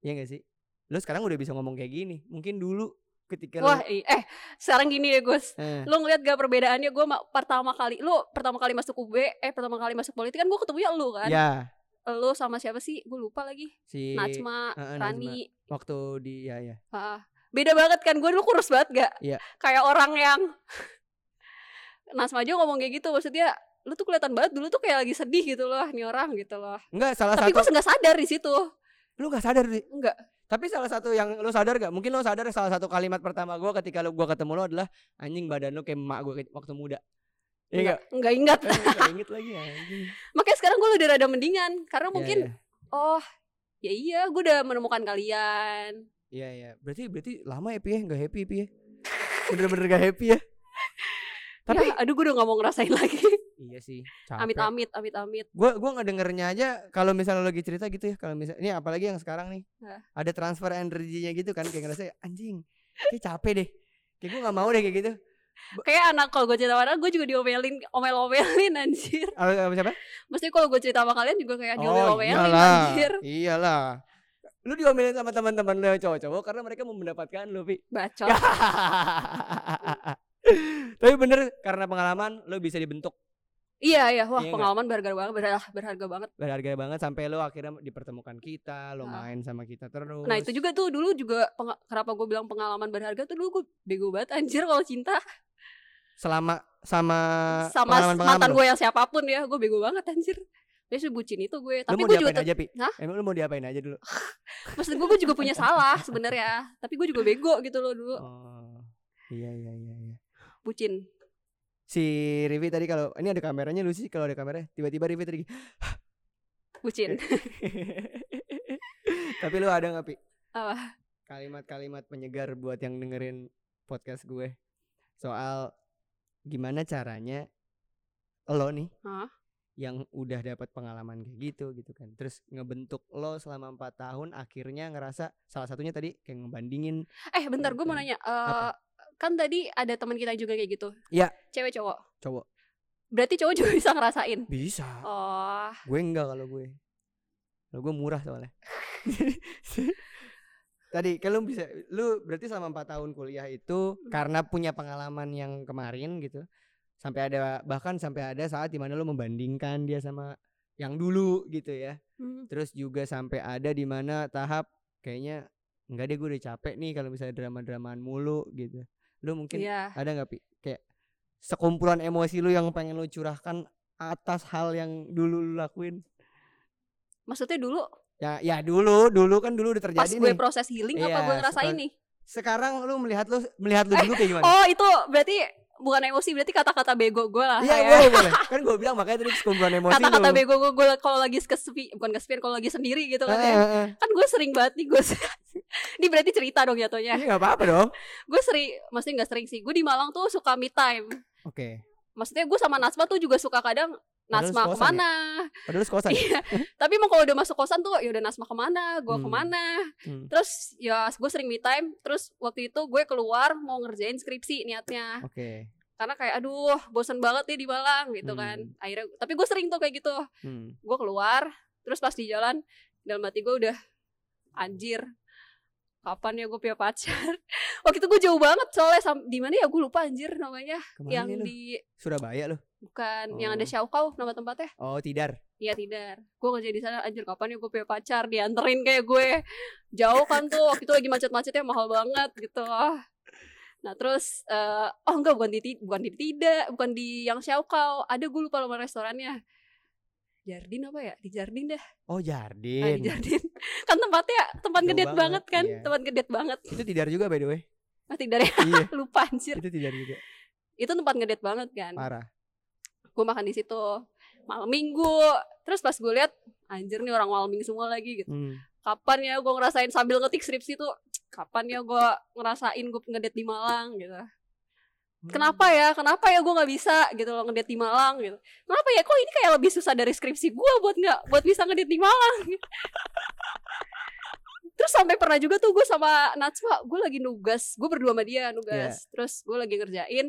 S1: Iya gak sih? Lo sekarang udah bisa ngomong kayak gini. Mungkin dulu ketika
S2: Wah,
S1: lo
S2: i- eh sekarang gini ya Gus.
S1: Eh,
S2: Lo ngeliat gak perbedaannya gue pertama kali lo pertama kali masuk UB eh pertama kali masuk politik kan gue ketemunya lo kan.
S1: ya
S2: Lo sama siapa sih? Gue lupa lagi.
S1: si
S2: Najma,
S1: eh, eh, Najma.
S2: Rani.
S1: waktu di ya ya.
S2: Ah, beda banget kan gue dulu kurus banget gak
S1: Iya.
S2: kayak orang yang Nasma aja ngomong kayak gitu maksudnya lu tuh kelihatan banget dulu tuh kayak lagi sedih gitu loh nih orang gitu loh
S1: Enggak salah
S2: tapi
S1: satu
S2: gue nggak sadar di situ
S1: lu gak sadar Ri?
S2: Enggak.
S1: tapi salah satu yang lu sadar gak mungkin lu sadar salah satu kalimat pertama gua ketika lu gua ketemu lu adalah anjing badan lu kayak emak gua ke- waktu muda iya gak?
S2: nggak ingat
S1: Eh, gak inget lagi anjing
S2: makanya sekarang gue udah rada mendingan karena mungkin
S1: Iya,
S2: oh ya iya gue udah menemukan kalian
S1: iya iya berarti berarti lama ya Pi ya gak happy Pi ya bener-bener gak happy ya tapi
S2: tapi Ya, aduh gue udah nggak mau ngerasain lagi
S1: iya sih
S2: Iya. amit
S1: capek
S2: amit amit amit
S1: gue gua nggak dengernya aja kalau misalnya lagi cerita gitu ya kalau misalnya ini apalagi yang sekarang nih
S2: Hah.
S1: ada transfer energinya gitu kan kayak ngerasa anjing kayak capek deh kayak gue nggak mau deh kayak gitu
S2: kayak anak kalau gue cerita sama orang gue juga diomelin omel omelin anjir
S1: Apa- apa siapa
S2: maksudnya kalau gue cerita sama kalian juga kayak diomelin omelin
S1: Oh, iyalah,
S2: anjir
S1: Iyalah. Lu diomelin sama teman-teman lu yang cowok-cowok karena mereka mau mendapatkan lu, Pi.
S2: bacot
S1: Tapi bener karena pengalaman lu bisa dibentuk
S2: Iya iya, wah
S1: Iya nggak?
S2: pengalaman berharga banget, berharga, berharga banget.
S1: berharga banget sampai lu akhirnya dipertemukan kita, lu
S2: Ah.
S1: main sama kita terus.
S2: Nah itu juga tuh dulu juga peng- kenapa gue bilang pengalaman berharga tuh dulu gue bego banget anjir kalau cinta.
S1: selama sama
S2: sama s-
S1: pengalaman-pengalaman
S2: mantan
S1: Eh, lu?
S2: gue yang siapapun ya gue bego banget anjir dia sebucin itu gue
S1: Lu
S2: tapi
S1: mau
S2: gue juga
S1: diapain aja, Pi?
S2: Hah?
S1: Emang lu mau diapain aja dulu?
S2: maksud gue gue juga punya salah sebenarnya tapi gue juga bego gitu loh dulu
S1: Oh. Iya, iya, iya, iya.
S2: bucin
S1: Si Rivi tadi kalau ini ada kameranya lu sih kalau ada kameranya tiba-tiba Rivi tadi.
S2: bucin
S1: Tapi lu ada nggak Pi?
S2: Apa?
S1: Kalimat-kalimat penyegar buat yang dengerin podcast gue soal gimana caranya lo nih
S2: Hah?
S1: yang udah dapat pengalaman kayak gitu gitu kan terus ngebentuk lo selama empat tahun akhirnya ngerasa salah satunya tadi kayak ngebandingin
S2: eh bentar gue mau nanya Eh,
S1: Apa?
S2: kan tadi ada teman kita juga kayak gitu
S1: Iya.
S2: cewek cowok
S1: Cowok.
S2: berarti cowok juga bisa ngerasain
S1: bisa
S2: oh
S1: Gue enggak kalau gue. Kalau gue murah soalnya. Tadi kalau bisa lu berarti selama empat tahun kuliah itu karena punya pengalaman yang kemarin gitu. Sampai ada bahkan sampai ada saat dimana lu membandingkan dia sama yang dulu gitu ya.
S2: Hmm.
S1: Terus juga sampai ada dimana tahap kayaknya enggak deh gue udah capek nih kalau misalnya drama-dramaan mulu gitu. Lu mungkin
S2: iya
S1: ada nggak pi kayak sekumpulan emosi lu yang pengen lu curahkan atas hal yang dulu lu lakuin?
S2: maksudnya dulu
S1: Ya, ya dulu, dulu kan dulu udah
S2: pas
S1: terjadi
S2: gue
S1: nih.
S2: proses healing apa
S1: Iya,
S2: gue ngerasain
S1: setelah-
S2: nih
S1: Sekarang lu melihat lu melihat lu dulu kayak gimana?
S2: oh itu berarti bukan emosi berarti kata-kata bego gue lah
S1: Iya
S2: kayak-
S1: boleh boleh. Kan gue bilang makanya tadi sekumpulan emosi
S2: kata-kata
S1: lu.
S2: bego gue gue kalau lagi kesepi bukan kesepian kalau lagi sendiri gitu kan
S1: Eh,
S2: ya
S1: eh, eh.
S2: kan gue sering banget nih gue ini berarti cerita dong jatuhnya
S1: Iya nggak apa-apa dong.
S2: gue sering maksudnya nggak sering sih gue di Malang tuh suka me time
S1: Oke.
S2: maksudnya gue sama Nasma tuh juga suka kadang
S1: Padahal
S2: Nasma
S1: sekosan ya?
S2: kemana
S1: Padahal lu sekosan.
S2: Iya.
S1: ya?
S2: tapi emang kalau udah masuk kosan tuh ya udah Nasma kemana gue
S1: Hmm.
S2: kemana
S1: Hmm,
S2: terus ya gue sering me time terus waktu itu gue keluar mau ngerjain skripsi niatnya
S1: Oke.
S2: karena kayak aduh bosen banget nih di Malang gitu
S1: Hmm.
S2: kan akhirnya tapi gue sering tuh kayak gitu
S1: Hmm.
S2: gue keluar terus pas di jalan dalam hati gue udah anjir kapan ya gue punya pacar waktu itu gue jauh banget soalnya sam- di mana ya gue lupa anjir namanya
S1: Kemana
S2: yang
S1: nih lu?
S2: di
S1: Surabaya lu?
S2: bukan yang ada
S1: Oh.
S2: Syaukau nama tempatnya
S1: Oh Tidar.
S2: iya tidak gue kerja di sana anjir kapan ya gue punya pacar dianterin kayak gue jauh kan tuh waktu itu lagi macet-macetnya mahal banget gitu nah terus eh, oh enggak bukan di Ti- bukan di tidak bukan di yang Syaukau ada gue lupa nama restorannya Jardin apa ya di Jardin deh
S1: Oh
S2: Ah, di
S1: Jardin.
S2: Jardin. kan tempatnya tempat
S1: Jauh
S2: gede
S1: banget,
S2: banget, kan,
S1: iya.
S2: tempat gede banget.
S1: itu Tidar juga by the way.
S2: Mati dari
S1: iya.
S2: lupa anjir.
S1: Itu Tidar juga.
S2: Itu tempat gede banget kan.
S1: Parah.
S2: Gue makan di situ malam Minggu. Terus pas gue lihat anjir nih orang malam Minggu semua lagi gitu.
S1: Hmm.
S2: Kapan ya gue ngerasain sambil ngetik skripsi tuh kapan ya gue ngerasain gue ngedet di Malang gitu. Kenapa ya? Kenapa ya gue nggak bisa gitu loh ngedet di Malang gitu. Kenapa ya? Kok ini kayak lebih susah dari skripsi gue buat nggak buat bisa ngedet di Malang. Terus sampai pernah juga tuh gue sama Natsma, gue lagi nugas, gue berdua sama dia nugas. Terus gue lagi ngerjain,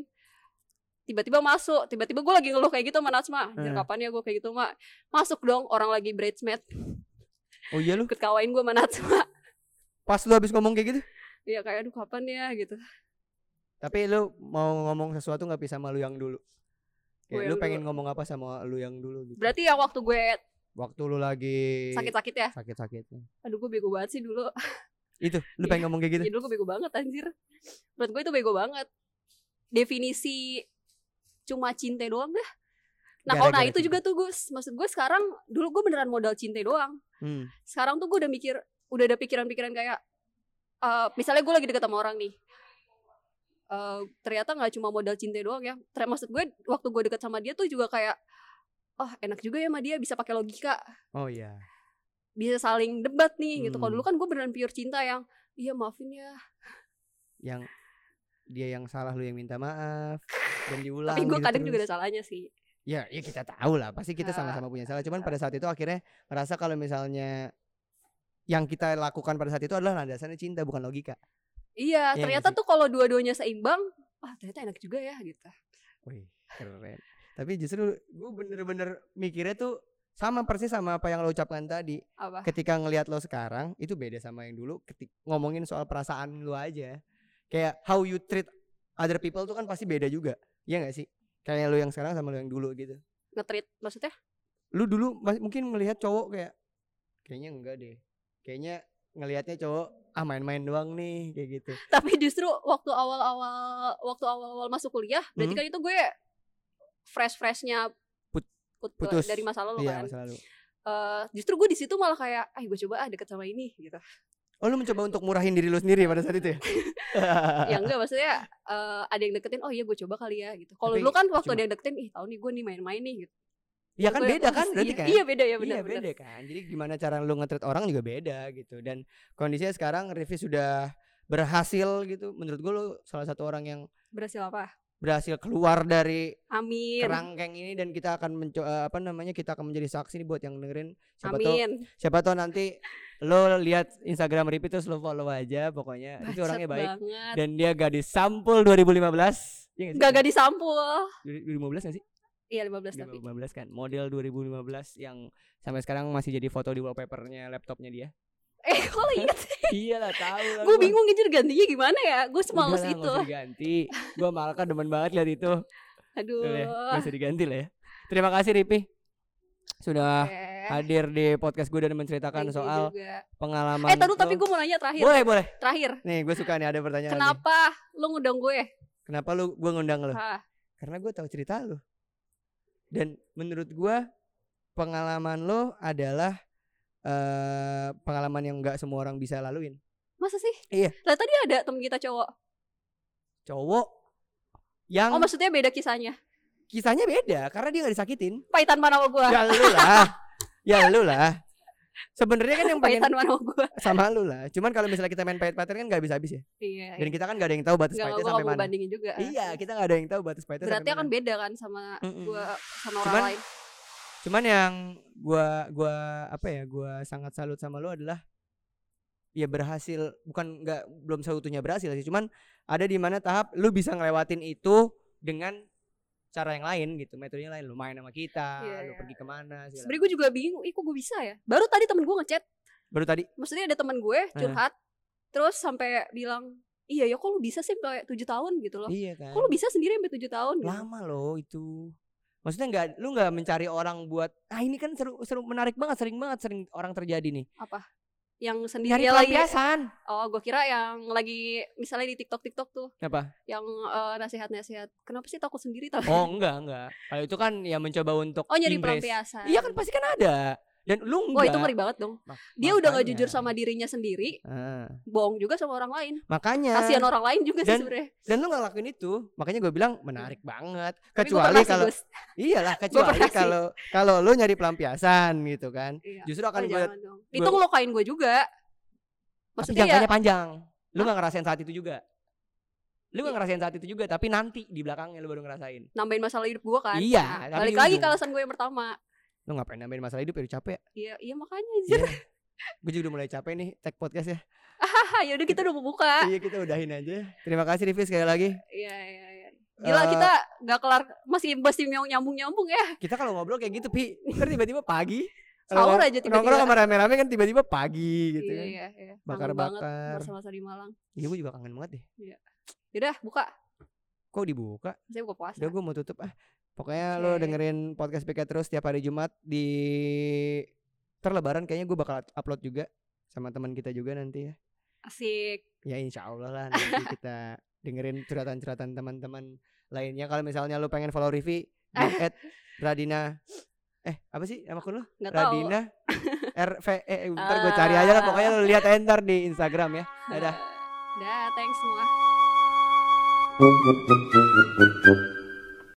S2: tiba-tiba masuk, tiba-tiba gue lagi ngeluh kayak gitu sama Natsma.
S1: Eh.
S2: Anjir kapan ya gue kayak gitu mak? Masuk dong orang lagi bridesmaid,
S1: Oh iya lu.
S2: ikut kawain gue sama Natsma.
S1: Pas lu habis ngomong kayak gitu.
S2: Iya kayak aduh kapan ya gitu.
S1: Tapi lu mau ngomong sesuatu nggak bisa sama lu yang dulu?
S2: Gue
S1: Kayak lu
S2: yang
S1: pengen ngomong apa sama lu yang dulu gitu?
S2: Berarti yang waktu gue
S1: Waktu lu lagi
S2: sakit-sakit ya,
S1: sakit-sakitnya.
S2: aduh gue bego banget sih dulu.
S1: Itu, lu
S2: Iya.
S1: pengen ngomong kayak gitu?
S2: Ya dulu gue bego banget anjir Menurut gue itu bego banget Definisi cuma cinta doang dah Nah kalau nah
S1: Gara-gara
S2: itu
S1: cinta.
S2: juga tuh Gus Maksud gue sekarang Dulu gue beneran modal cinta doang
S1: Hmm.
S2: Sekarang tuh gue udah mikir Udah ada pikiran-pikiran kayak eh, Misalnya gue lagi deket sama orang nih Eh, Ternyata gak cuma modal cinta doang ya Ter- Maksud gue waktu gue deket sama dia tuh juga kayak Oh enak juga ya sama dia bisa pakai logika
S1: Oh iya.
S2: Bisa saling debat nih gitu Kalau
S1: Hmm.
S2: dulu kan gue beneran pure cinta yang Iya maafin ya
S1: Yang dia yang salah lu yang minta maaf dan diulang.
S2: Tapi gue
S1: gitu
S2: kadang juga
S1: terus.
S2: ada salahnya sih
S1: Ya, ya kita tahu lah. Pasti kita
S2: Ah.
S1: sama-sama punya salah. Cuman pada saat itu akhirnya merasa kalau misalnya yang kita lakukan pada saat itu adalah landasannya cinta bukan logika.
S2: Iya,
S1: Iya
S2: ternyata
S1: nggak
S2: tuh kalau dua-duanya seimbang, wah ternyata enak juga ya gitu.
S1: Wih, keren. Tapi justru gue bener-bener mikirnya tuh sama persis sama apa yang lo ucapkan tadi.
S2: Apa?
S1: ketika ngelihat lo sekarang itu beda sama yang dulu ketik ngomongin soal perasaan lo aja kayak how you treat other people tuh kan pasti beda juga ya nggak sih kayak lo yang sekarang sama lo yang dulu gitu
S2: Ngetrit maksudnya?
S1: lu dulu mas- mungkin melihat cowok kayak kayaknya enggak deh kayaknya ngelihatnya cowok ah main-main doang nih kayak gitu.
S2: tapi justru waktu awal-awal waktu awal-awal masuk kuliah berarti
S1: Hmm.
S2: kan itu gue fresh-freshnya
S1: Put-
S2: put-
S1: putus.
S2: dari masa lalu
S1: Iya
S2: kan
S1: masa lalu.
S2: Eh, justru gue di situ malah kayak ah gue coba ah deket sama ini gitu
S1: Oh lu mencoba untuk murahin diri lu sendiri pada saat itu ya?
S2: ya enggak maksudnya eh, ada yang deketin oh iya gue coba kali ya gitu kalau
S1: Tapi
S2: dulu kan waktu
S1: cuma-
S2: ada yang deketin ih tahun nih gue nih main-main nih gitu
S1: Iya kan
S2: Gue-
S1: beda kan
S2: iya,
S1: berarti kan?
S2: iya beda ya benar
S1: Iya beda kan. Jadi gimana cara lu nge-treat orang juga beda gitu. Dan kondisinya sekarang Rifki sudah berhasil gitu. Menurut gue lu salah satu orang yang
S2: berhasil apa
S1: berhasil keluar dari
S2: amin
S1: kerangkeng ini dan kita akan mencoba apa namanya kita akan menjadi saksi nih buat yang dengerin siapa tahu
S2: amin
S1: siapa tahu nanti lo lihat Instagram Rifki terus lo follow aja pokoknya itu
S2: Bacot
S1: orangnya baik
S2: banget
S1: dan dia gadis sampul 2015 ya nggak sih?
S2: gak gadis sampul
S1: 2015 gak sih?
S2: iya 15 tapi
S1: 2015 kan model 2015 yang sampai sekarang masih jadi foto di wallpapernya laptopnya dia
S2: eh kok lo inget sih
S1: iyalah tahu Iya lah
S2: gue
S1: gua.
S2: bingung anjir gantinya gimana ya gue
S1: Udah
S2: semales
S1: lah, nggak
S2: itu
S1: usah diganti gue Malka demen banget lihat itu
S2: aduh
S1: Udah ya, nggak usah diganti lah ya terima kasih Ripi sudah
S2: eh,
S1: hadir di podcast gue dan menceritakan
S2: thank you
S1: Ah, kan soal
S2: juga.
S1: pengalaman
S2: eh taruh tapi
S1: lo.
S2: gue mau nanya terakhir
S1: boleh Iya, boleh
S2: terakhir
S1: nih gue suka nih ada pertanyaan nih.
S2: kenapa lo ngundang gue
S1: kenapa lu gue ngundang lu
S2: Hah,
S1: karena gue tahu cerita lu dan menurut gue pengalaman lo adalah eh pengalaman yang nggak semua orang bisa laluin
S2: masa sih
S1: Iya.
S2: lah tadi ada temen kita cowok
S1: cowok
S2: oh
S1: yang
S2: maksudnya beda kisahnya
S1: kisahnya beda karena dia nggak disakitin
S2: paitan mana sama gue
S1: ya lu lah ya lu lah sebenarnya kan yang pengen
S2: paitan mana sama gue
S1: sama lu lah cuman kalau misalnya kita main pahit-pahitan kan nggak bisa habis ya
S2: iya
S1: dan kita kan nggak ada yang tahu batas
S2: Enggak,
S1: pahitnya
S2: gue
S1: sampai
S2: mau
S1: mana
S2: bandingin juga
S1: iya kita nggak ada yang tahu batas pahitnya
S2: kan. berarti
S1: sampai
S2: akan
S1: mana.
S2: beda kan sama
S1: Mm-mm.
S2: gue sama
S1: Hmm.
S2: orang
S1: Cuman- ya.
S2: lain
S1: cuman yang gua gua apa ya gua sangat salut sama lu adalah ya berhasil bukan nggak belum seutuhnya berhasil sih cuman ada di mana tahap lu bisa ngelewatin itu dengan cara yang lain gitu metodenya lain lu main sama kita
S2: Iya,
S1: lu
S2: iya.
S1: pergi kemana segala
S2: sebenernya gue juga bingung ih kok gue bisa ya baru tadi temen gue ngechat
S1: baru tadi
S2: maksudnya ada temen gue
S1: Eh.
S2: curhat terus sampai bilang iya ya kok lu bisa sih sampai tujuh tahun gitu loh
S1: iya kan
S2: kok lu bisa sendiri sampai tujuh tahun gitu?
S1: lama loh itu maksudnya nggak lu nggak mencari orang buat ah ini kan seru seru menarik banget sering banget sering orang terjadi nih
S2: yang sendiri
S1: nyari
S2: ya lagi
S1: pelampiasan
S2: oh gue kira yang lagi misalnya di tiktok tiktok tuh
S1: apa
S2: yang eh, nasihat-nasihat kenapa sih takut sendiri tapi
S1: Oh enggak enggak. Kalau itu kan ya mencoba untuk
S2: oh nyari
S1: embrace.
S2: pelampiasan
S1: Iya kan pasti kan ada. Dan lu
S2: Wah
S1: enggak.
S2: itu ngeri banget dong
S1: Mak-
S2: Dia udah gak
S1: makanya.
S2: jujur sama dirinya sendiri
S1: Ah,
S2: Bohong juga sama orang lain
S1: makanya.
S2: Kasian orang lain juga
S1: Iya.
S2: sih
S1: Dan
S2: sebenernya
S1: Dan lu nggak lakuin itu. Makanya gue bilang menarik banget.
S2: Hmm. Tapi gua
S1: Kecuali
S2: pernah sih,
S1: kalau
S2: Gus.
S1: iyalah kecuali
S2: pernah sih.
S1: kalau kalau lu nyari pelampiasan gitu kan.
S2: Iya.
S1: Justru akan
S2: Oh,
S1: gue
S2: jangan dong. Itu ngelokain gue juga
S1: tapi
S2: Maksudnya ya
S1: jangkanya panjang. Lu nggak ngerasain saat itu juga. Lu nggak ngerasain saat itu juga, tapi nanti di belakangnya lu baru ngerasain.
S2: Nambahin masalah hidup gue kan
S1: Iya,
S2: Nah,
S1: tapi
S2: Balik
S1: di
S2: lagi ke
S1: ujung.
S2: alasan gue yang pertama
S1: Lu ngapain nambahin masalah hidup ya udah capek.
S2: Iya iya makanya anjir
S1: Gue juga udah mulai capek nih tag podcast ya.
S2: Haha, Yaudah kita udah mau buka
S1: Iya kita udahin aja. Terima kasih Rivi sekali lagi.
S2: Iya iya iya Gila
S1: Eh,
S2: kita gak kelar Masih masih nyambung-nyambung ya
S1: kita kalau ngobrol kayak gitu pi ntar tiba-tiba pagi Kalau
S2: Sahur
S1: ngom-
S2: aja
S1: nongkrong
S2: tiba-tiba
S1: sama rame-rame kan tiba-tiba pagi gitu
S2: Iya
S1: kan
S2: iya iya Kangen banget
S1: bakar-bakar
S2: Masa-masa di Malang
S1: iya gue juga kangen banget deh
S2: Yaudah buka
S1: kok dibuka
S2: Saya buka puasa
S1: udah gue mau tutup ah pokoknya lo
S2: Oke.
S1: dengerin podcast PK terus tiap hari Jumat di terlebaran kayaknya gue bakal upload juga sama teman kita juga nanti ya
S2: Asik
S1: ya insya Allah lah nanti kita dengerin curhatan-curhatan teman-teman lainnya kalau misalnya lo pengen follow Rivi di at Radina eh apa sih nama akun lu?
S2: Gak tau
S1: Radina RV eh ntar gue cari aja lah pokoknya lu lihat aja ntar di Instagram ya dadah
S2: Dah thanks semua
S1: ya.
S3: Thank you.